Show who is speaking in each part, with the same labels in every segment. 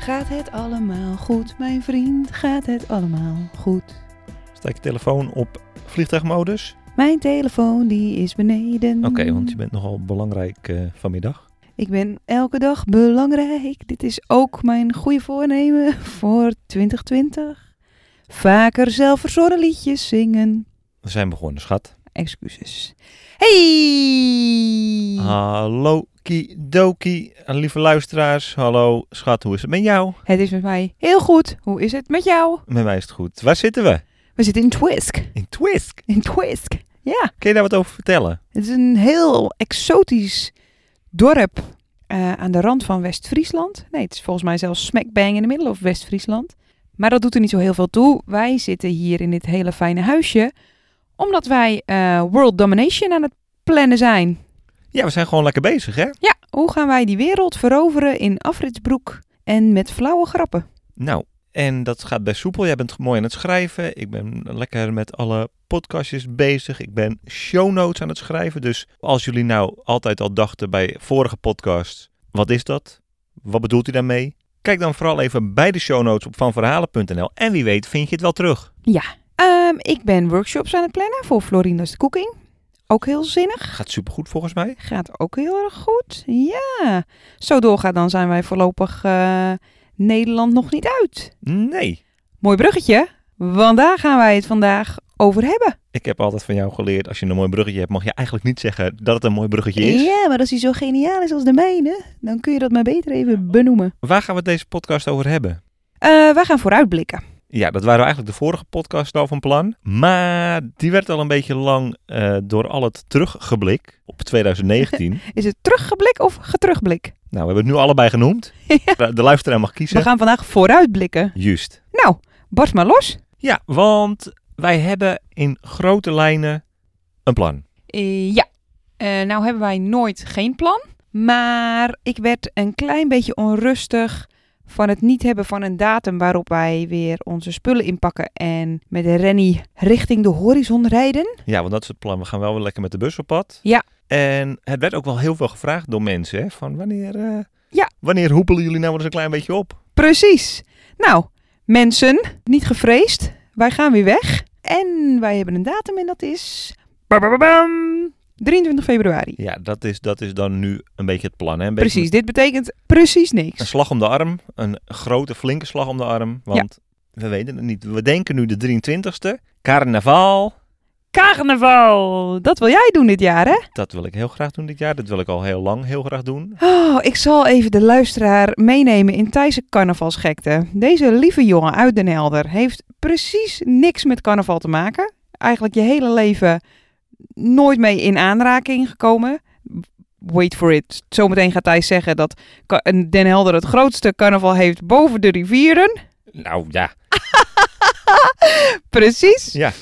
Speaker 1: Gaat het allemaal goed, mijn vriend? Gaat het allemaal goed?
Speaker 2: Staat je telefoon op vliegtuigmodus?
Speaker 1: Mijn telefoon die is beneden.
Speaker 2: Oké, want je bent nogal belangrijk eh, vanmiddag.
Speaker 1: Ik ben elke dag belangrijk. Dit is ook mijn goede voornemen voor 2020. Vaker zelfverzonnen liedjes zingen.
Speaker 2: We zijn begonnen, schat.
Speaker 1: Excuses. Hey!
Speaker 2: Ah. Hallo, Kidoki, Eh, lieve luisteraars. Hallo, schat, hoe is het met jou?
Speaker 1: Het is met mij heel goed. Hoe is het met jou?
Speaker 2: Met mij is het goed. Waar zitten we?
Speaker 1: We zitten in Twisk.
Speaker 2: In Twisk.
Speaker 1: In Twisk. Ja,
Speaker 2: Kun je daar wat over vertellen?
Speaker 1: het is een heel exotisch dorp eh, aan de rand van West-Friesland. Nee, het is volgens mij zelfs smackbang in de middel of West-Friesland. Maar dat doet er niet zo heel veel toe. Wij zitten hier in dit hele fijne huisje omdat wij eh, world domination aan het plannen zijn.
Speaker 2: Ja, we zijn gewoon lekker bezig, hè?
Speaker 1: Ja, hoe gaan wij die wereld veroveren in afritsbroek en met flauwe grappen?
Speaker 2: Nou, en dat gaat best soepel. Jij bent mooi aan het schrijven. Ik ben lekker met alle podcastjes bezig. Ik ben show notes aan het schrijven. Dus als jullie nou altijd al dachten bij vorige podcast, wat is dat? Wat bedoelt u daarmee? Kijk dan vooral even bij de show notes op vanverhalen.nl. En wie weet vind je het wel terug.
Speaker 1: Ehm, ik ben workshops aan het plannen voor Florina's Cooking. Ook heel zinnig.
Speaker 2: Gaat supergoed volgens mij.
Speaker 1: Gaat ook heel erg goed. Ja. Zo doorgaat, dan zijn wij voorlopig eh, Nederland nog niet uit.
Speaker 2: Nee.
Speaker 1: Mooi bruggetje, want daar gaan wij het vandaag over hebben.
Speaker 2: Ik heb altijd van jou geleerd, als je een mooi bruggetje hebt, mag je eigenlijk niet zeggen dat het een mooi bruggetje is.
Speaker 1: Ja, maar als hij zo geniaal is als de mijne, dan kun je dat maar beter even benoemen.
Speaker 2: Waar gaan we deze podcast over hebben?
Speaker 1: Eh wij gaan vooruitblikken.
Speaker 2: Ja, dat waren we eigenlijk de vorige podcast al van plan. Maar die werd al een beetje lang eh, door al het teruggeblik op 2019. nou,
Speaker 1: Is het teruggeblik of geterugblik?
Speaker 2: we hebben het nu allebei genoemd. De luisteraar mag
Speaker 1: We
Speaker 2: kiezen.
Speaker 1: gaan vandaag vooruitblikken.
Speaker 2: Juist.
Speaker 1: Nou, barst maar los.
Speaker 2: Ja, want wij hebben in grote lijnen een plan.
Speaker 1: Eh, ja, Eh, nou hebben wij nooit geen plan. Maar ik werd een klein beetje onrustig van het niet hebben van een datum waarop wij weer onze spullen inpakken en met de Rennie richting de horizon rijden.
Speaker 2: Ja, want dat is het plan. We gaan wel weer lekker met de bus op pad.
Speaker 1: Ja.
Speaker 2: En het werd ook wel heel veel gevraagd door mensen. Hè, van wanneer, eh,
Speaker 1: Ja.
Speaker 2: wanneer hoepelen jullie nou eens een klein beetje op?
Speaker 1: Precies. Nou, mensen, niet gevreesd. Wij gaan weer weg. En wij hebben een datum en dat is... babababam, 23 februari.
Speaker 2: Ja, dat is, dat is dan nu een beetje het plan. Hè? Een beetje
Speaker 1: Precies, dit betekent precies
Speaker 2: Een
Speaker 1: niks.
Speaker 2: slag om de arm. Een grote, flinke slag om de arm. Want we weten het niet. We denken nu de 23e. Carnaval.
Speaker 1: Carnaval! Dat wil jij doen dit jaar, hè?
Speaker 2: Dat wil ik heel graag doen dit jaar. Dat wil ik al heel lang heel graag doen.
Speaker 1: Oh, ik zal even de luisteraar meenemen in Thijs' carnavalsgekte. Deze lieve jongen uit Den Helder heeft precies niks met carnaval te maken. Eigenlijk je hele leven nooit mee in aanraking gekomen. Wait for it. Zometeen gaat Thijs zeggen dat Ka- Den Helder het grootste carnaval heeft boven de rivieren.
Speaker 2: Nou ja.
Speaker 1: Precies.
Speaker 2: Ja.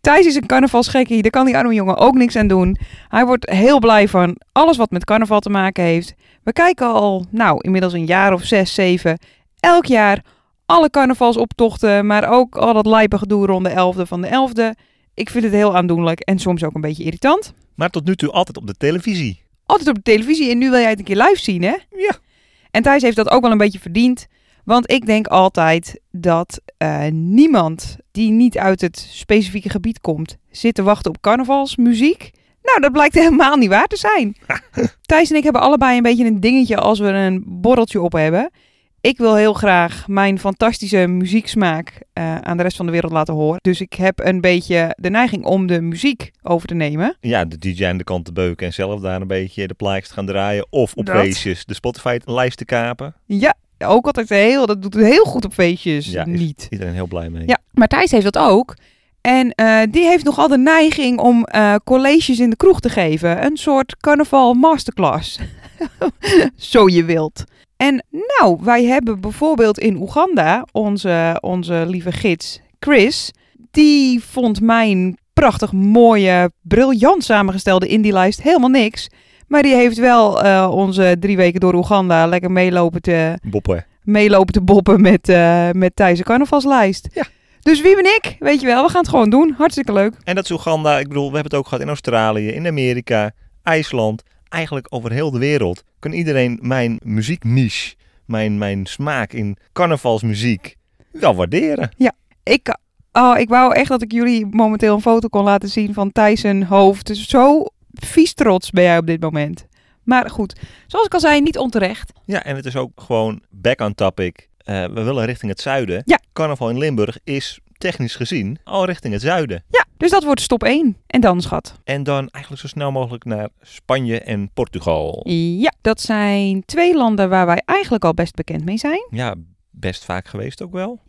Speaker 1: Thijs is een carnavalsgekkie, daar kan die arme jongen ook niks aan doen. Hij wordt heel blij van alles wat met carnaval te maken heeft. We kijken al, nou, inmiddels een jaar of zes, zeven, elk jaar alle carnavalsoptochten, maar ook al dat lijpe gedoe rond de 11e van de 11e. Ik vind het heel aandoenlijk en soms ook een beetje irritant.
Speaker 2: Maar tot nu toe altijd op de televisie.
Speaker 1: Altijd op de televisie en nu wil jij het een keer live zien, hè?
Speaker 2: Ja.
Speaker 1: En Thijs heeft dat ook wel een beetje verdiend. Want ik denk altijd dat eh, niemand die niet uit het specifieke gebied komt, zit te wachten op carnavalsmuziek. Nou, dat blijkt helemaal niet waar te zijn. Thijs en ik hebben allebei een beetje een dingetje als we een borreltje op hebben. Ik wil heel graag mijn fantastische muzieksmaak eh, aan de rest van de wereld laten horen. Dus ik heb een beetje de neiging om de muziek over te nemen.
Speaker 2: Ja, de DJ aan de kant te beuken. En zelf daar een beetje de plaatjes te gaan draaien. Of op
Speaker 1: Dat.
Speaker 2: feestjes de Spotify-lijst te kapen.
Speaker 1: Ja, ook altijd heel, dat doet het heel goed op feestjes.
Speaker 2: Ja, is-
Speaker 1: niet.
Speaker 2: Iedereen heel blij mee.
Speaker 1: Ja, maar Thijs heeft dat ook. En eh, die heeft nogal de neiging om eh, colleges in de kroeg te geven. Een soort carnaval masterclass. zo je wilt. En nou, wij hebben bijvoorbeeld in Oeganda onze, onze lieve gids Chris. Die vond mijn prachtig mooie, briljant samengestelde indie-lijst helemaal niks. Maar die heeft wel eh, onze drie weken door Oeganda lekker meelopen te,
Speaker 2: Boppen.
Speaker 1: meelopen te boppen met, eh met Thijs' carnavalslijst.
Speaker 2: Ja.
Speaker 1: Dus wie ben ik? Weet je wel, we gaan het gewoon doen. Hartstikke leuk.
Speaker 2: En dat is Oeganda. Ik bedoel, we hebben het ook gehad in Australië, in Amerika, IJsland. Eigenlijk over heel de wereld kan iedereen mijn muziekniche, mijn, mijn smaak in carnavalsmuziek wel waarderen.
Speaker 1: Ik, oh, ik wou echt dat ik jullie momenteel een foto kon laten zien van Thijs' zijn hoofd. Dus zo vies trots ben jij op dit moment. Maar goed, zoals ik al zei, niet onterecht.
Speaker 2: Ja, en het is ook gewoon back on topic. Eh, we willen richting het zuiden.
Speaker 1: Ja.
Speaker 2: Carnaval in Limburg is technisch gezien al richting het zuiden.
Speaker 1: Ja, dus dat wordt stop 1. En dan, schat.
Speaker 2: En dan eigenlijk zo snel mogelijk naar Spanje en Portugal.
Speaker 1: Ja, dat zijn twee landen waar wij eigenlijk al best bekend mee zijn.
Speaker 2: Ja, best vaak geweest ook wel.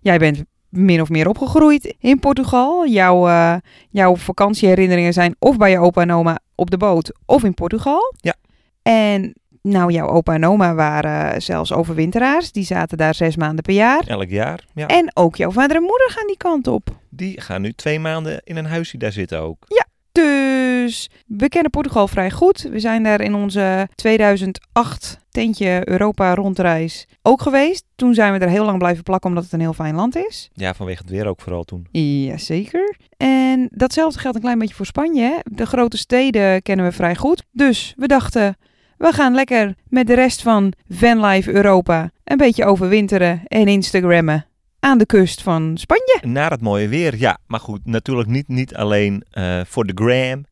Speaker 1: Jij bent min of meer opgegroeid in Portugal. Jouw, eh, jouw vakantieherinneringen zijn of bij je opa en oma op de boot of in Portugal.
Speaker 2: Ja.
Speaker 1: En nou, jouw opa en oma waren zelfs overwinteraars. Die zaten daar zes maanden per jaar.
Speaker 2: Elk jaar. Ja.
Speaker 1: En ook jouw vader en moeder gaan die kant op.
Speaker 2: Die gaan nu twee maanden in een huisje daar zitten ook.
Speaker 1: Dus we kennen Portugal vrij goed. We zijn daar in onze 2008 tentje Europa rondreis ook geweest. Toen zijn we er heel lang blijven plakken omdat het een heel fijn land is.
Speaker 2: Ja, vanwege het weer ook vooral toen.
Speaker 1: Jazeker. En datzelfde geldt een klein beetje voor Spanje. hè. De grote steden kennen we vrij goed. Dus we dachten, we gaan lekker met de rest van Vanlife Europa een beetje overwinteren en Instagrammen aan de kust van Spanje.
Speaker 2: Naar het mooie weer, ja. Maar goed, natuurlijk niet, niet alleen eh, voor de gram.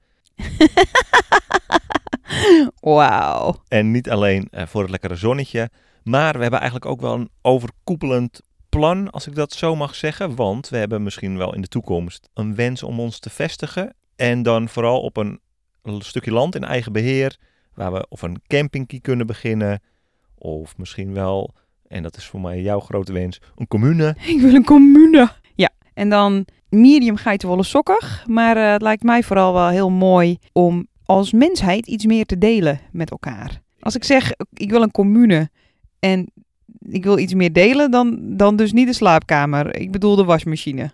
Speaker 1: Wauw.
Speaker 2: En niet alleen eh, voor het lekkere zonnetje. Maar we hebben eigenlijk ook wel een overkoepelend plan, als ik dat zo mag zeggen. Want we hebben misschien wel in de toekomst een wens om ons te vestigen. En dan vooral op een l- stukje land in eigen beheer. Waar we of een campingkie kunnen beginnen. Of misschien wel, en dat is voor mij jouw grote wens, een commune.
Speaker 1: Ik wil een commune. Ja, en dan medium geitenwolle sokkig. Maar eh, het lijkt mij vooral wel heel mooi om als mensheid iets meer te delen met elkaar. Als ik zeg, eh, ik wil een commune en ik wil iets meer delen, dan, dan dus niet de slaapkamer. Ik bedoel de wasmachine.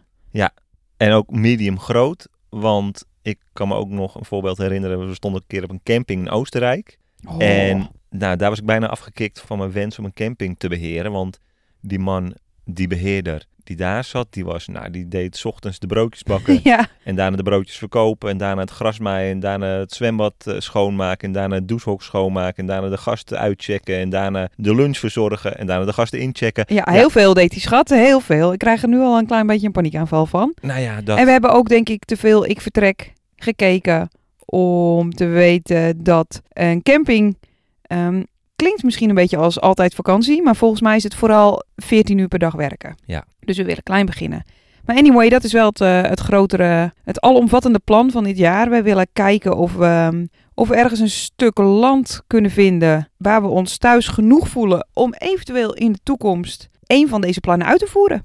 Speaker 2: En ook medium groot, want ik kan me ook nog een voorbeeld herinneren. We stonden een keer op een camping in Oostenrijk. En nou, daar was ik bijna afgekikt van mijn wens om een camping te beheren. Want die man, die beheerder die daar zat, die, was, nou, die deed 's ochtends de broodjes bakken.
Speaker 1: ja,
Speaker 2: en daarna de broodjes verkopen. En daarna het gras maaien. En daarna het zwembad eh, schoonmaken. En daarna het douchehok schoonmaken. En daarna de gasten uitchecken. En daarna de lunch verzorgen. En daarna de gasten inchecken.
Speaker 1: ja, heel veel deed die schat, heel veel. Ik krijg er nu al een klein beetje een paniekaanval van.
Speaker 2: Nou ja, dat...
Speaker 1: En we hebben ook, denk ik, te veel Ik Vertrek gekeken om te weten dat een camping ehm, klinkt misschien een beetje als altijd vakantie, maar volgens mij is het vooral 14 uur per dag werken.
Speaker 2: Ja.
Speaker 1: Dus we willen klein beginnen. Maar anyway, dat is wel het, eh, het grotere, het alomvattende plan van dit jaar. Wij willen kijken of we, ehm, of we ergens een stuk land kunnen vinden waar we ons thuis genoeg voelen om eventueel in de toekomst een van deze plannen uit te voeren.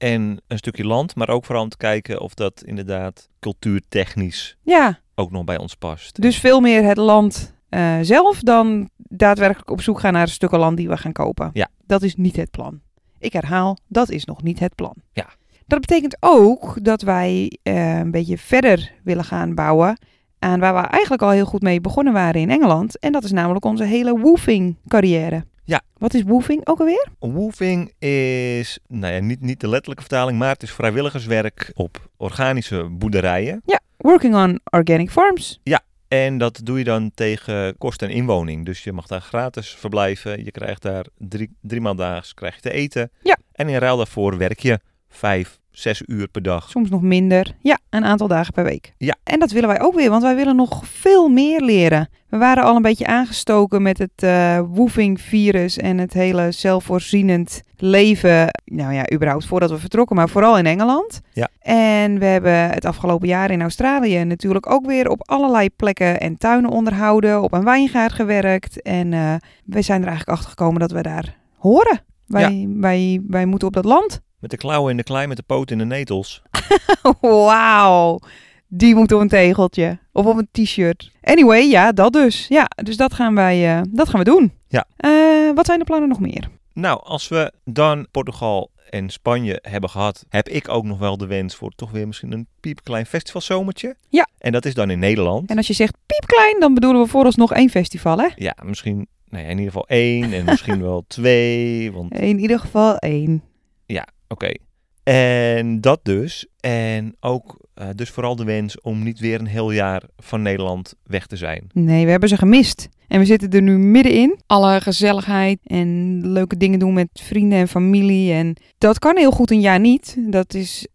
Speaker 2: en een stukje land, maar ook vooral om te kijken of dat inderdaad cultuurtechnisch
Speaker 1: Ja,
Speaker 2: ook nog bij ons past.
Speaker 1: Dus veel meer het land eh, zelf dan daadwerkelijk op zoek gaan naar stukken land die we gaan kopen.
Speaker 2: Ja.
Speaker 1: Dat is niet het plan. Ik herhaal, dat is nog niet het plan.
Speaker 2: Ja.
Speaker 1: Dat betekent ook dat wij eh, een beetje verder willen gaan bouwen aan waar we eigenlijk al heel goed mee begonnen waren in Engeland. En dat is namelijk onze hele woofing carrière.
Speaker 2: Ja.
Speaker 1: Wat is woofing ook alweer?
Speaker 2: Woofing is, nou ja, niet, niet de letterlijke vertaling, maar het is vrijwilligerswerk op organische boerderijen.
Speaker 1: Ja, working on organic farms.
Speaker 2: En dat doe je dan tegen kosten en inwoning. Dus je mag daar gratis verblijven. Je krijgt daar drie, drie maal daags krijg je te eten.
Speaker 1: Ja.
Speaker 2: En in ruil daarvoor werk je vijf, zes uur per dag.
Speaker 1: Soms nog minder. Ja, een aantal dagen per week.
Speaker 2: Ja.
Speaker 1: En dat willen wij ook weer, want wij willen nog veel meer leren. We waren al een beetje aangestoken met het eh woofing-virus en het hele zelfvoorzienend leven. Nou ja, überhaupt voordat we vertrokken, maar vooral in Engeland.
Speaker 2: Ja.
Speaker 1: En we hebben het afgelopen jaar in Australië natuurlijk ook weer op allerlei plekken en tuinen onderhouden, op een wijngaard gewerkt. En eh, we zijn er eigenlijk achter gekomen dat we daar horen. Wij, wij, wij moeten op dat land.
Speaker 2: Met de klauwen in de klei, met de poot in de netels.
Speaker 1: Wauw. Die moet op een tegeltje of op een t-shirt. Anyway, ja, dat dus. Ja, dus dat gaan wij eh, dat gaan we doen.
Speaker 2: Ja.
Speaker 1: Eh, wat zijn de plannen nog meer?
Speaker 2: Nou, als we dan Portugal en Spanje hebben gehad, heb ik ook nog wel de wens voor toch weer misschien een piepklein festivalzomertje.
Speaker 1: Ja.
Speaker 2: En dat is dan in Nederland.
Speaker 1: En als je zegt piepklein, dan bedoelen we vooralsnog één festival, hè?
Speaker 2: Ja, misschien nou ja, in ieder geval één en misschien wel twee. Want
Speaker 1: In ieder geval één.
Speaker 2: Oké. En dat dus. En ook eh, dus vooral de wens om niet weer een heel jaar van Nederland weg te zijn.
Speaker 1: Nee, we hebben ze gemist. En we zitten er nu middenin. Alle gezelligheid en leuke dingen doen met vrienden en familie. En dat kan heel goed een jaar niet. Dat is,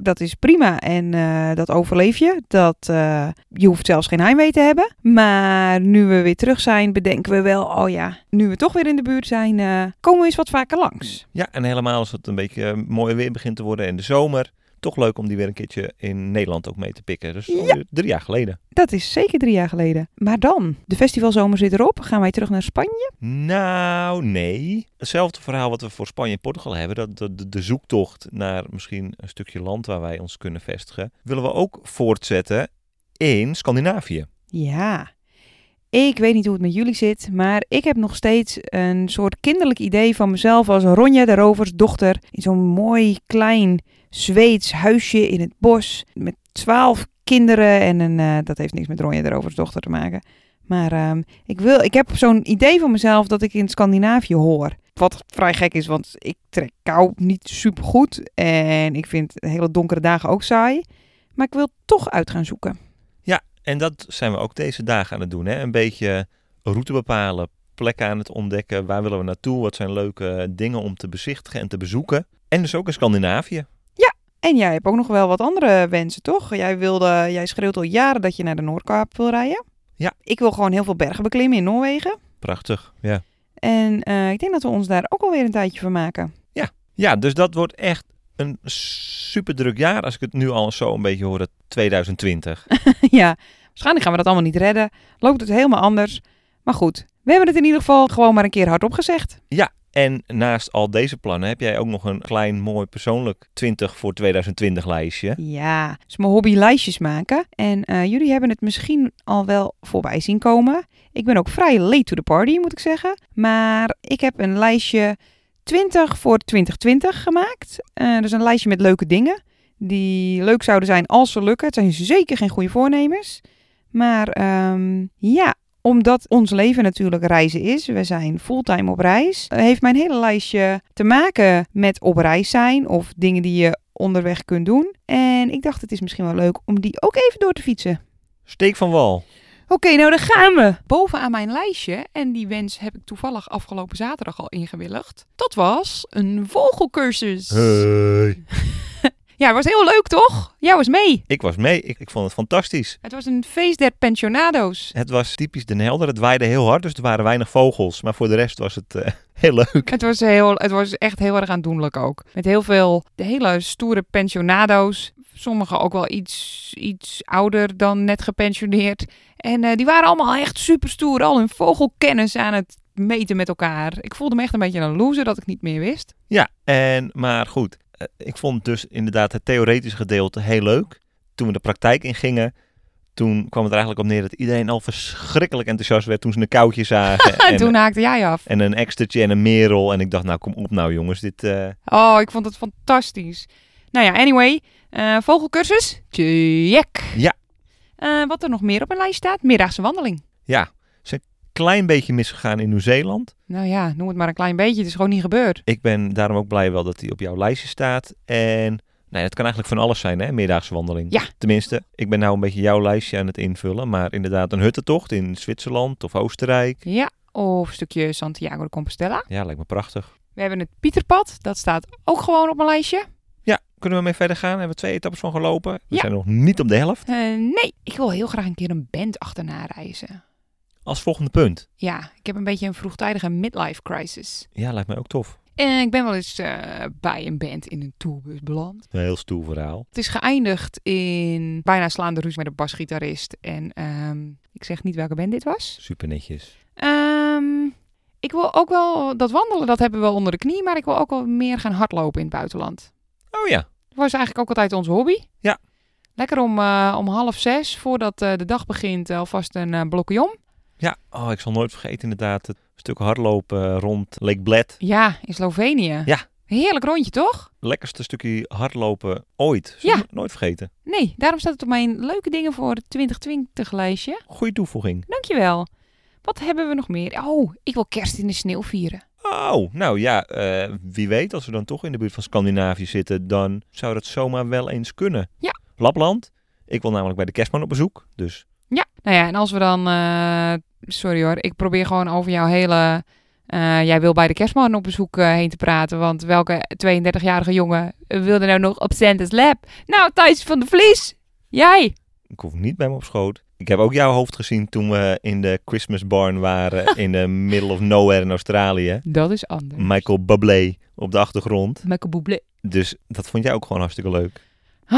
Speaker 1: dat is prima. En eh, dat overleef je. Dat, eh, je hoeft zelfs geen heimwee te hebben. Maar nu we weer terug zijn, bedenken we wel... oh ja, nu we toch weer in de buurt zijn... eh, komen we eens wat vaker langs.
Speaker 2: Ja, en helemaal als het een beetje eh, mooi weer begint te worden en de zomer. Toch leuk om die weer een keertje in Nederland ook mee te pikken. Dus
Speaker 1: Ja.
Speaker 2: alweer drie jaar geleden.
Speaker 1: Dat is zeker drie jaar geleden. Maar dan, de festivalzomer zit erop. Gaan wij terug naar Spanje?
Speaker 2: Nou, nee. Hetzelfde verhaal wat we voor Spanje en Portugal hebben. Dat dat- de, de zoektocht naar misschien een stukje land waar wij ons kunnen vestigen. Willen we ook voortzetten in Scandinavië.
Speaker 1: Ja. Ik weet niet hoe het met jullie zit, maar ik heb nog steeds een soort kinderlijk idee van mezelf als Ronja de Rovers dochter in zo'n mooi klein Zweeds huisje in het bos met twaalf kinderen en een, eh, dat heeft niks met Ronja de Rovers dochter te maken. Maar ehm, ik, wil, ik heb zo'n idee van mezelf dat ik in Scandinavië hoor. Wat vrij gek is, want ik trek kou niet super goed en ik vind hele donkere dagen ook saai. Maar ik wil toch uit gaan zoeken.
Speaker 2: En dat zijn we ook deze dagen aan het doen. Hè? Een beetje route bepalen, plekken aan het ontdekken. Waar willen we naartoe? Wat zijn leuke dingen om te bezichtigen en te bezoeken? En dus ook in Scandinavië.
Speaker 1: En jij hebt ook nog wel wat andere wensen, toch? Jij, wilde, jij schreeuwt al jaren dat je naar de Noordkaap wil rijden.
Speaker 2: Ja.
Speaker 1: Ik wil gewoon heel veel bergen beklimmen in Noorwegen.
Speaker 2: Prachtig, ja.
Speaker 1: En eh, ik denk dat we ons daar ook alweer een tijdje van maken.
Speaker 2: Ja, dus dat wordt echt een super druk jaar. Als ik het nu al zo een beetje hoor, dat 2020.
Speaker 1: ja, waarschijnlijk gaan we dat allemaal niet redden. Loopt het helemaal anders. Maar goed, we hebben het in ieder geval gewoon maar een keer hardop gezegd.
Speaker 2: En naast al deze plannen heb jij ook nog een klein mooi persoonlijk 20 voor 2020 lijstje.
Speaker 1: Ja, het is mijn hobby lijstjes maken. En eh, jullie hebben het misschien al wel voorbij zien komen. Ik ben ook vrij late to the party, moet ik zeggen. Maar ik heb een lijstje 20 voor 2020 gemaakt. Eh dus een lijstje met leuke dingen. Die leuk zouden zijn als ze lukken. Het zijn zeker geen goede voornemens. Maar ehm, ja, omdat ons leven natuurlijk reizen is. We zijn fulltime op reis. eh, Heeft mijn hele lijstje te maken met op reis zijn. Of dingen die je onderweg kunt doen. En ik dacht het is misschien wel leuk om die ook even door te fietsen.
Speaker 2: Steek van wal.
Speaker 1: Oké, nou daar gaan we.
Speaker 3: bovenaan mijn lijstje, en die wens heb ik toevallig afgelopen zaterdag al ingewilligd, dat was een vogelcursus.
Speaker 2: Hey.
Speaker 3: Ja, was heel leuk toch? Jij was mee.
Speaker 2: Ik was mee. Ik, ik vond het fantastisch.
Speaker 3: Het was een feest der pensionado's.
Speaker 2: Het was typisch Den Helder. Het waaide heel hard, dus er waren weinig vogels. Maar voor de rest was het eh, heel leuk.
Speaker 3: Het was, heel, het was echt heel erg aandoenlijk ook. Met heel veel, de hele stoere pensionado's. Sommigen ook wel iets, iets ouder dan net gepensioneerd. En eh, die waren allemaal echt super stoer. Al hun vogelkennis aan het meten met elkaar. Ik voelde me echt een beetje een loser dat ik niet meer wist.
Speaker 2: Ja, en, maar goed. eh, Ik vond dus inderdaad het theoretische gedeelte heel leuk. Toen we de praktijk ingingen, toen kwam het er eigenlijk op neer dat iedereen al verschrikkelijk enthousiast werd toen ze een koudje zagen.
Speaker 3: En
Speaker 2: en,
Speaker 3: toen haakte jij af.
Speaker 2: en een ekstertje en een merel. En ik dacht, nou kom op nou jongens, dit... eh,
Speaker 3: Oh, ik vond het fantastisch. Nou ja, anyway. eh, vogelcursus? Check.
Speaker 2: Ja.
Speaker 3: Eh, wat er nog meer op mijn lijst staat? Middagse wandeling.
Speaker 2: Klein beetje misgegaan in Nieuw-Zeeland.
Speaker 3: Nou ja, noem het maar een klein beetje. Het is gewoon niet gebeurd.
Speaker 2: Ik ben daarom ook blij wel dat hij op jouw lijstje staat. En nee, het kan eigenlijk van alles zijn, hè? Middagse wandeling.
Speaker 3: Ja.
Speaker 2: Tenminste, ik ben nou een beetje jouw lijstje aan het invullen. Maar inderdaad, een huttentocht in Zwitserland of Oostenrijk.
Speaker 3: Ja, of een stukje Santiago de Compostela.
Speaker 2: Ja, lijkt me prachtig.
Speaker 3: We hebben het Pieterpad. Dat staat ook gewoon op mijn lijstje.
Speaker 2: Ja, kunnen we mee verder gaan? Hebben we twee etappes van gelopen? We
Speaker 3: Ja.
Speaker 2: zijn nog niet op de helft.
Speaker 3: Eh, nee, ik wil heel graag een keer een band achterna reizen.
Speaker 2: Als volgende punt.
Speaker 3: Ja, ik heb een beetje een vroegtijdige midlife crisis.
Speaker 2: Ja, lijkt mij ook tof.
Speaker 3: En ik ben wel eens eh, bij een band in een tourbus beland.
Speaker 2: Een heel stoer verhaal.
Speaker 3: Het is geëindigd in bijna slaande ruzie met een basgitarist. En ehm, ik zeg niet welke band dit was.
Speaker 2: Super netjes.
Speaker 3: Ehm, ik wil ook wel dat wandelen, dat hebben we wel onder de knie. Maar ik wil ook wel meer gaan hardlopen in het buitenland.
Speaker 2: Oh ja.
Speaker 3: Dat was eigenlijk ook altijd onze hobby.
Speaker 2: Ja.
Speaker 1: Lekker om, eh, om half zes, voordat eh, de dag begint, alvast een eh, blokje om.
Speaker 2: Ja, oh, ik zal nooit vergeten inderdaad het stuk hardlopen eh, rond Lake Bled.
Speaker 1: Ja, in Slovenië.
Speaker 2: Ja.
Speaker 1: Heerlijk rondje, toch?
Speaker 2: Lekkerste stukje hardlopen ooit. Zullen
Speaker 1: Ja.
Speaker 2: we nooit vergeten.
Speaker 1: Nee, daarom staat het op mijn leuke dingen voor het 2020-lijstje.
Speaker 2: Goeie toevoeging.
Speaker 1: Dankjewel. Wat hebben we nog meer? Oh, ik wil kerst in de sneeuw vieren.
Speaker 2: Oh, nou ja, eh, wie weet, als we dan toch in de buurt van Scandinavië zitten, dan zou dat zomaar wel eens kunnen.
Speaker 1: Ja.
Speaker 2: Lapland. Ik wil namelijk bij de kerstman op bezoek. Dus
Speaker 1: Ja, nou ja, en als we dan... eh, sorry hoor, ik probeer gewoon over jouw hele... eh, jij wil bij de kerstman op bezoek eh, heen te praten. Want welke 32-jarige jongen wilde nou nog op Santa's lab? Nou, Thijs van de Vlies! Jij!
Speaker 2: ik hoef niet bij me op schoot. Ik heb ook jouw hoofd gezien toen we in de Christmas barn waren in de middle of nowhere in Australië.
Speaker 1: Dat is anders.
Speaker 2: Michael Bublé op de achtergrond.
Speaker 1: Michael Bublé.
Speaker 2: Dus dat vond jij ook gewoon hartstikke leuk.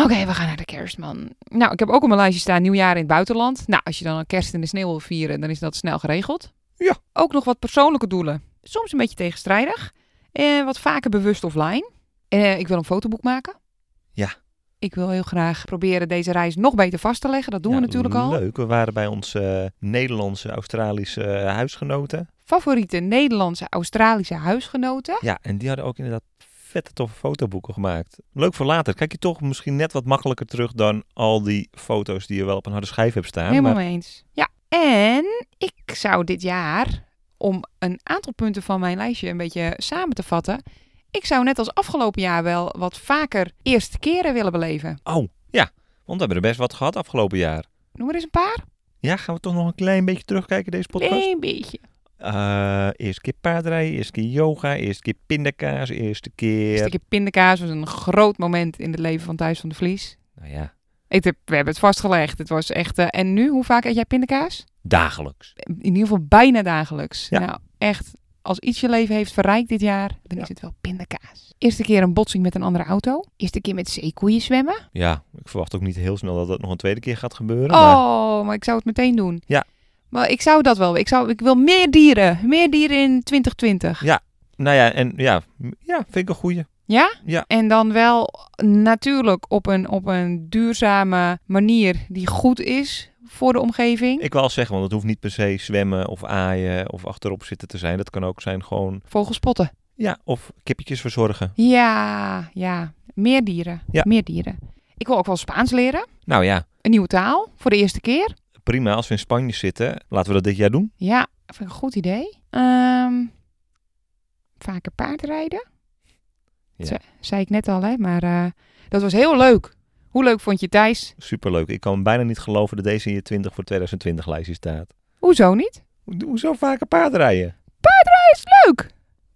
Speaker 1: Oké, we gaan naar de kerstman. Nou, ik heb ook op mijn lijstje staan nieuwjaar in het buitenland. Nou, als je dan een kerst in de sneeuw wil vieren, dan is dat snel geregeld.
Speaker 2: Ja.
Speaker 1: Ook nog wat persoonlijke doelen. Soms een beetje tegenstrijdig. Eh, wat vaker bewust offline. Eh, ik wil een fotoboek maken.
Speaker 2: Ja.
Speaker 1: Ik wil heel graag proberen deze reis nog beter vast te leggen. Dat doen
Speaker 2: Ja,
Speaker 1: we natuurlijk al.
Speaker 2: Leuk. We waren bij onze eh, Nederlandse, Australische eh, huisgenoten.
Speaker 1: Favoriete Nederlandse, Australische huisgenoten.
Speaker 2: Ja, en die hadden ook inderdaad vette toffe fotoboeken gemaakt. Leuk voor later. Kijk je toch misschien net wat makkelijker terug dan al die foto's die je wel op een harde schijf hebt staan.
Speaker 1: Helemaal
Speaker 2: maar
Speaker 1: mee eens. Ja, en ik zou dit jaar, om een aantal punten van mijn lijstje een beetje samen te vatten, ik zou net als afgelopen jaar wel wat vaker eerste keren willen beleven.
Speaker 2: Oh, ja. Want we hebben er best wat gehad afgelopen jaar.
Speaker 1: Noem er eens een paar.
Speaker 2: Ja, gaan we toch nog een klein beetje terugkijken deze podcast?
Speaker 1: Klein beetje.
Speaker 2: Eh, eerste keer paardrijden, eerste keer yoga, eerste keer pindakaas, eerste keer...
Speaker 1: Een stukje pindakaas was een groot moment in het leven van Thijs van de Vlies.
Speaker 2: Nou ja,
Speaker 1: Ik heb, we hebben het vastgelegd. Het was echt. eh, en nu, hoe vaak eet jij pindakaas?
Speaker 2: dagelijks.
Speaker 1: In ieder geval bijna dagelijks.
Speaker 2: Ja.
Speaker 1: Nou, echt. Als iets je leven heeft verrijkt dit jaar, dan
Speaker 2: Ja.
Speaker 1: is het wel pindakaas. Eerste keer een botsing met een andere auto. Eerste keer met zeekoeien zwemmen.
Speaker 2: Ja, ik verwacht ook niet heel snel dat dat nog een tweede keer gaat gebeuren. Maar
Speaker 1: Oh, maar ik zou het meteen doen.
Speaker 2: Ja.
Speaker 1: Maar ik zou dat wel. Ik, zou, ik wil meer dieren. Meer dieren in 2020.
Speaker 2: nou ja, en ja, m- ja, vind ik een goeie.
Speaker 1: Ja?
Speaker 2: Ja.
Speaker 1: En dan wel natuurlijk op een, op een duurzame manier die goed is voor de omgeving.
Speaker 2: Ik wil al zeggen, want het hoeft niet per se zwemmen of aaien of achterop zitten te zijn. Dat kan ook zijn gewoon,
Speaker 1: Vogels spotten.
Speaker 2: ja, of kippetjes verzorgen.
Speaker 1: Ja, ja. Meer dieren.
Speaker 2: Ja.
Speaker 1: Meer dieren. Ik wil ook wel Spaans leren.
Speaker 2: Nou ja,
Speaker 1: Een nieuwe taal voor de eerste keer.
Speaker 2: prima. Als we in Spanje zitten, laten we dat dit jaar doen.
Speaker 1: Ja, vind ik een goed idee. Ehm, vaker paardrijden.
Speaker 2: Ja.
Speaker 1: Ze- zei ik net al, hè, maar eh, dat was heel leuk. Hoe leuk vond je Thijs?
Speaker 2: Superleuk. Ik kan bijna niet geloven dat deze in je 20 voor 2020 lijstje staat.
Speaker 1: Hoezo niet?
Speaker 2: Ho- Hoezo vaker paardrijden?
Speaker 1: Paardrijden is leuk!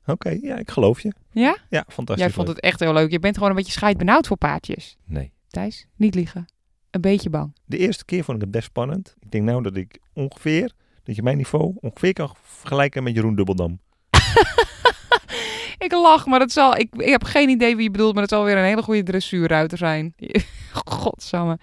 Speaker 2: Oké, ja, ik geloof je.
Speaker 1: Ja?
Speaker 2: Ja, fantastisch.
Speaker 1: Jij vond
Speaker 2: leuk.
Speaker 1: het echt heel leuk. Je bent gewoon een beetje scheidbenauwd voor paardjes.
Speaker 2: Nee.
Speaker 1: Thijs, niet liegen. Een beetje bang.
Speaker 2: De eerste keer vond ik het best spannend. Ik denk nou dat ik ongeveer, dat je mijn niveau ongeveer kan vergelijken met Jeroen Dubbeldam.
Speaker 1: Ik lach, maar dat zal... Ik, ik heb geen idee wie je bedoelt, maar het zal weer een hele goede dressuurruiter zijn. Godsamme.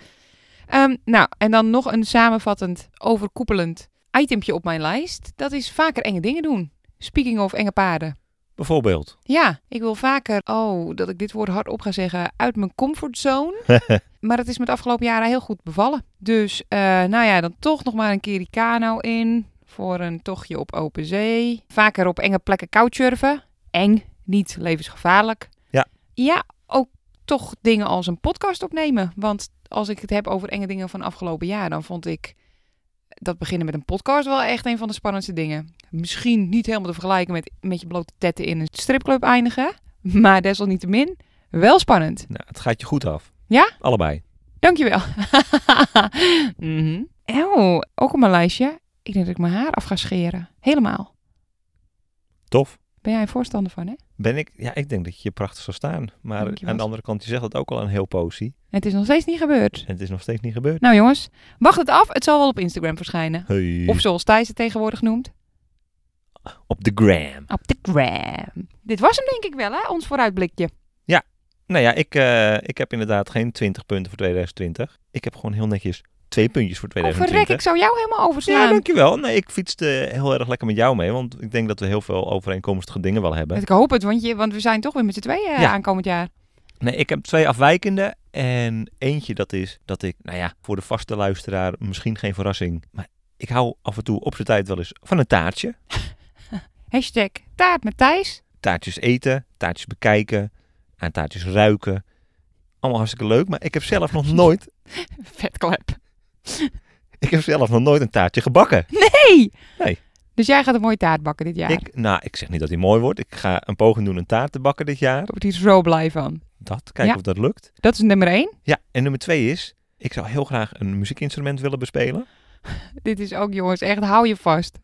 Speaker 1: Ehm, nou, en dan nog een samenvattend, overkoepelend itempje op mijn lijst. Dat is vaker enge dingen doen. Speaking of enge paarden.
Speaker 2: Bijvoorbeeld.
Speaker 1: Ja, ik wil vaker, oh, dat ik dit woord hardop ga zeggen, uit mijn comfortzone. maar het is me de afgelopen jaren heel goed bevallen. Dus, eh, nou ja, dan toch nog maar een keer die kano in. Voor een tochtje op open zee. Vaker op enge plekken couchsurfen. Eng, niet levensgevaarlijk.
Speaker 2: Ja.
Speaker 1: Ja, ook toch dingen als een podcast opnemen. Want als ik het heb over enge dingen van afgelopen jaar, dan vond ik dat beginnen met een podcast wel echt een van de spannendste dingen misschien niet helemaal te vergelijken met, met je blote tetten in een stripclub eindigen. Maar desalniettemin, wel spannend.
Speaker 2: Nou, het gaat je goed af.
Speaker 1: Ja?
Speaker 2: Allebei.
Speaker 1: Dankjewel. Mhm. Oh, ook op mijn lijstje. Ik denk dat ik mijn haar af ga scheren. Helemaal.
Speaker 2: Tof.
Speaker 1: Ben jij een voorstander van, hè?
Speaker 2: Ben ik? Ja, ik denk dat je prachtig zou staan. Maar
Speaker 1: Dankjewel.
Speaker 2: aan de andere kant, je zegt dat ook al een heel posie.
Speaker 1: Het is nog steeds niet gebeurd.
Speaker 2: En het is nog steeds niet gebeurd.
Speaker 1: Nou jongens, wacht het af. Het zal wel op Instagram verschijnen.
Speaker 2: Hey.
Speaker 1: Of zoals Thijs het tegenwoordig noemt.
Speaker 2: Op de gram.
Speaker 1: Op de gram. Dit was hem denk ik wel, hè? Ons vooruitblikje.
Speaker 2: Nou ja, ik, eh, ik heb inderdaad geen 20 punten voor 2020. Ik heb gewoon heel netjes twee puntjes voor
Speaker 1: Oh, verrek,
Speaker 2: 2020.
Speaker 1: ik zou jou helemaal
Speaker 2: ja,
Speaker 1: overslaan.
Speaker 2: dankjewel. Nee, ik fietste heel erg lekker met jou mee. Want ik denk dat we heel veel overeenkomstige dingen wel hebben.
Speaker 1: ik hoop het, want, je, want we zijn toch weer met z'n tweeën eh,
Speaker 2: Ja.
Speaker 1: aankomend jaar.
Speaker 2: Nee, ik heb twee afwijkende En eentje dat is dat ik, nou ja, voor de vaste luisteraar misschien geen verrassing. Maar ik hou af en toe op zijn tijd wel eens van een taartje.
Speaker 1: Hashtag taart met Thijs.
Speaker 2: Taartjes eten, taartjes bekijken, aan taartjes ruiken. Allemaal hartstikke leuk, maar ik heb zelf nog nooit,
Speaker 1: Vetklep.
Speaker 2: ik heb zelf nog nooit een taartje gebakken.
Speaker 1: Hey!
Speaker 2: Nee.
Speaker 1: Dus jij gaat een mooie taart bakken dit jaar. Ik
Speaker 2: Ik, nou, ik zeg niet dat hij mooi wordt. Ik ga een poging doen een taart te bakken dit jaar.
Speaker 1: word hier zo blij van.
Speaker 2: Dat, kijken
Speaker 1: Ja.
Speaker 2: of dat lukt.
Speaker 1: Dat is nummer één.
Speaker 2: Ja, en nummer twee is, ik zou heel graag een muziekinstrument willen bespelen.
Speaker 1: Dit is ook, jongens, echt hou je vast.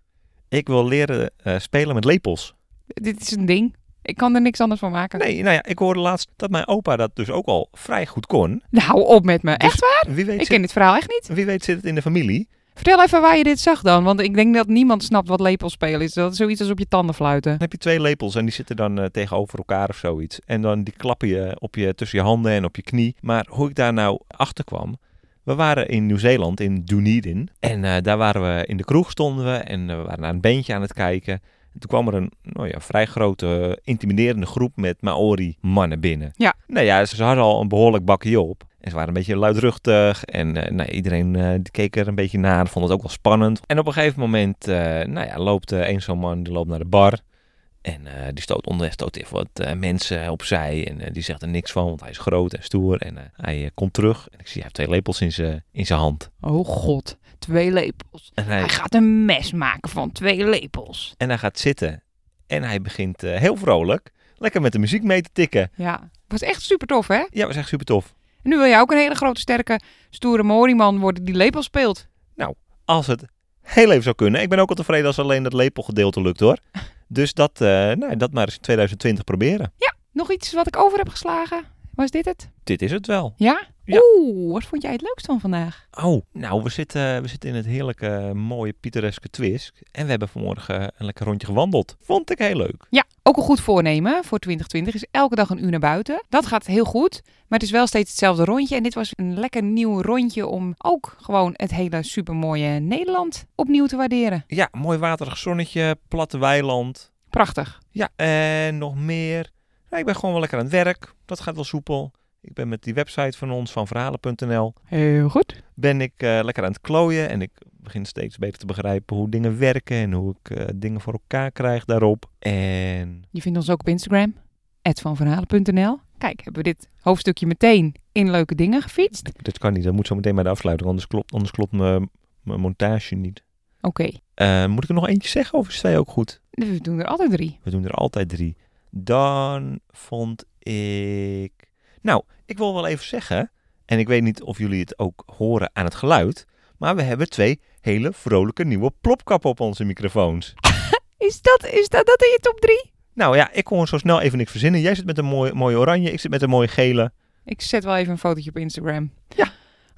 Speaker 2: Ik wil leren eh, spelen met lepels.
Speaker 1: Dit is een ding. Ik kan er niks anders van maken.
Speaker 2: Nee, nou ja, ik hoorde laatst dat mijn opa dat dus ook al vrij goed kon.
Speaker 1: Nou, Hou op met me.
Speaker 2: Dus
Speaker 1: Echt waar?
Speaker 2: Wie weet,
Speaker 1: Ik
Speaker 2: zit,
Speaker 1: ken dit verhaal echt niet.
Speaker 2: wie weet zit het in de familie.
Speaker 1: Vertel even waar je dit zag dan. Want ik denk dat niemand snapt wat lepelspelen is. Dat is zoiets als op je tanden fluiten.
Speaker 2: Dan heb je twee lepels en die zitten dan eh, tegenover elkaar of zoiets. En dan die klappen je, op je tussen je handen en op je knie. Maar hoe ik daar nou achter kwam... We waren in Nieuw-Zeeland, in Dunedin. En eh, daar waren we in de kroeg stonden we en eh, we waren naar een bandje aan het kijken. En toen kwam er een nou ja, vrij grote, eh, intimiderende groep met Maori mannen binnen.
Speaker 1: Ja.
Speaker 2: Nou ja, ze, ze hadden al een behoorlijk bakje op. En ze waren een beetje luidruchtig en eh, nou, iedereen eh, die keek er een beetje naar, vond het ook wel spannend. En op een gegeven moment, eh, nou ja, loopt eh, één zo'n man, die loopt naar de bar. En eh, die stoot onderweg stoot even wat eh, mensen opzij. En eh, die zegt er niks van, want hij is groot en stoer. En eh, hij eh, komt terug. En ik zie, hij heeft twee lepels in zijn in zijn hand.
Speaker 1: Oh god. Twee lepels.
Speaker 2: En
Speaker 1: Hij gaat een mes maken van twee lepels.
Speaker 2: En hij gaat zitten. En hij begint eh, heel vrolijk. Lekker met de muziek mee te tikken.
Speaker 1: Ja. Was echt super tof, hè?
Speaker 2: Ja, was echt super tof.
Speaker 1: En nu wil jij ook een hele grote, sterke, stoere Moriman worden die lepel speelt.
Speaker 2: Als het heel even zou kunnen. Ik ben ook al tevreden als alleen dat lepelgedeelte lukt hoor. Dus dat, eh, nou, dat maar eens in 2020 proberen.
Speaker 1: Nog iets wat ik over heb geslagen? Was dit het?
Speaker 2: Dit is het wel.
Speaker 1: Ja?
Speaker 2: Ja.
Speaker 1: Oeh, wat vond jij het leukst van vandaag?
Speaker 2: Oh, nou, we zitten, we zitten in het heerlijke, mooie, pittoreske Twisk. En we hebben vanmorgen een lekker rondje gewandeld. Vond ik heel leuk.
Speaker 1: Ja, ook een goed voornemen voor 2020 is elke dag een uur naar buiten. Dat gaat heel goed, maar het is wel steeds hetzelfde rondje. En dit was een lekker nieuw rondje om ook gewoon het hele supermooie Nederland opnieuw te waarderen.
Speaker 2: Ja, mooi waterig zonnetje, platte weiland.
Speaker 1: Prachtig.
Speaker 2: Ja, en nog meer. Ja, ik ben gewoon wel lekker aan het werk. Dat gaat wel soepel. Ik ben met die website van ons, van verhalen.nl,
Speaker 1: Heel goed.
Speaker 2: ben ik eh, lekker aan het klooien. En ik begin steeds beter te begrijpen hoe dingen werken en hoe ik eh, dingen voor elkaar krijg daarop. En
Speaker 1: Je vindt ons ook op Instagram, @vanverhalen.nl. Kijk, hebben we dit hoofdstukje meteen in leuke dingen gefietst?
Speaker 2: dat kan niet, dat moet zo meteen bij de afsluiting, anders klopt, anders klopt mijn, mijn montage niet.
Speaker 1: Oké,
Speaker 2: Eh, moet ik er nog eentje zeggen of is twee ook goed?
Speaker 1: we doen er altijd drie.
Speaker 2: We doen er altijd drie. Dan vond ik. Nou, ik wil wel even zeggen. En ik weet niet of jullie het ook horen aan het geluid. Maar we hebben twee hele vrolijke nieuwe plopkappen op onze microfoons.
Speaker 1: Is dat, is dat, dat in je top drie?
Speaker 2: Nou ja, ik kon zo snel even niks verzinnen. Jij zit met een mooie, mooie oranje, ik zit met een mooie gele.
Speaker 1: Ik zet wel even een fotootje op Instagram.
Speaker 2: Ja.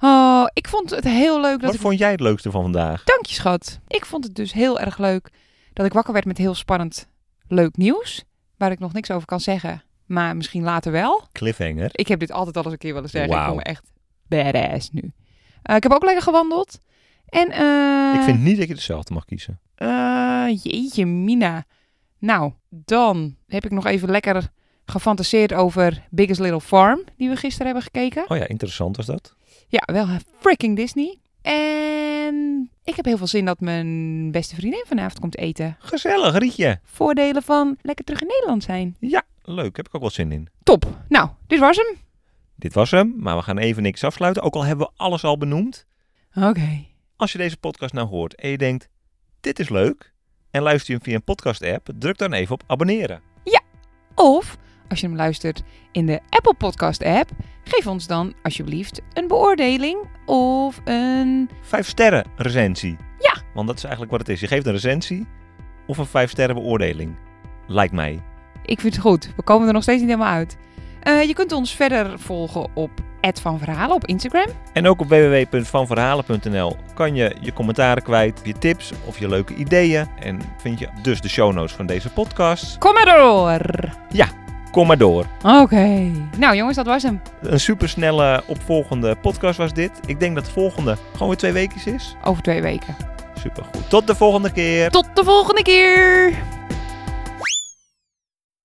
Speaker 1: Oh, ik vond het heel leuk dat
Speaker 2: Wat
Speaker 1: ik...
Speaker 2: vond jij het leukste van vandaag?
Speaker 1: Dank je, schat. Ik vond het dus heel erg leuk dat ik wakker werd met heel spannend leuk nieuws. Waar ik nog niks over kan zeggen, maar misschien later wel.
Speaker 2: Cliffhanger.
Speaker 1: Ik heb dit altijd al eens een keer willen zeggen. Ik
Speaker 2: Wauw.
Speaker 1: voel me echt badass nu. Eh, ik heb ook lekker gewandeld. En eh,
Speaker 2: Ik vind niet dat je hetzelfde mag kiezen.
Speaker 1: eh, jeetje, Mina. Nou, dan heb ik nog even lekker gefantaseerd over Biggest Little Farm, die we gisteren hebben gekeken.
Speaker 2: Oh ja, interessant was dat.
Speaker 1: Ja, wel eh, freaking Disney. En ik heb heel veel zin dat mijn beste vriendin vanavond komt eten.
Speaker 2: Gezellig, Rietje.
Speaker 1: Voordelen van lekker terug in Nederland zijn.
Speaker 2: Ja, leuk. Heb ik ook wel zin in.
Speaker 1: Top. Nou, dit was hem.
Speaker 2: Dit was hem, maar we gaan even niks afsluiten. Ook al hebben we alles al benoemd.
Speaker 1: Oké.
Speaker 2: Als je deze podcast nou hoort en je denkt, dit is leuk, en luister je hem via een podcast-app, druk dan even op abonneren.
Speaker 1: Of als je hem luistert in de Apple Podcast app, geef ons dan alsjeblieft een beoordeling of een...
Speaker 2: Vijf sterren recensie.
Speaker 1: Ja.
Speaker 2: Want dat is eigenlijk wat het is. Je geeft een recensie of een vijf sterren beoordeling. Lijkt mij.
Speaker 1: Ik vind het goed. We komen er nog steeds niet helemaal uit. Eh, je kunt ons verder volgen op Ed van Verhalen op Instagram.
Speaker 2: En ook op www.vanverhalen.nl kan je je commentaren kwijt, je tips of je leuke ideeën. En vind je dus de show notes van deze podcast.
Speaker 1: Kom maar door.
Speaker 2: Kom maar door.
Speaker 1: Oké. Nou jongens, dat was hem.
Speaker 2: Een supersnelle opvolgende podcast was dit. Ik denk dat de volgende gewoon weer twee weken is.
Speaker 1: Over twee weken.
Speaker 2: Supergoed. Tot de volgende keer.
Speaker 1: Tot de volgende keer!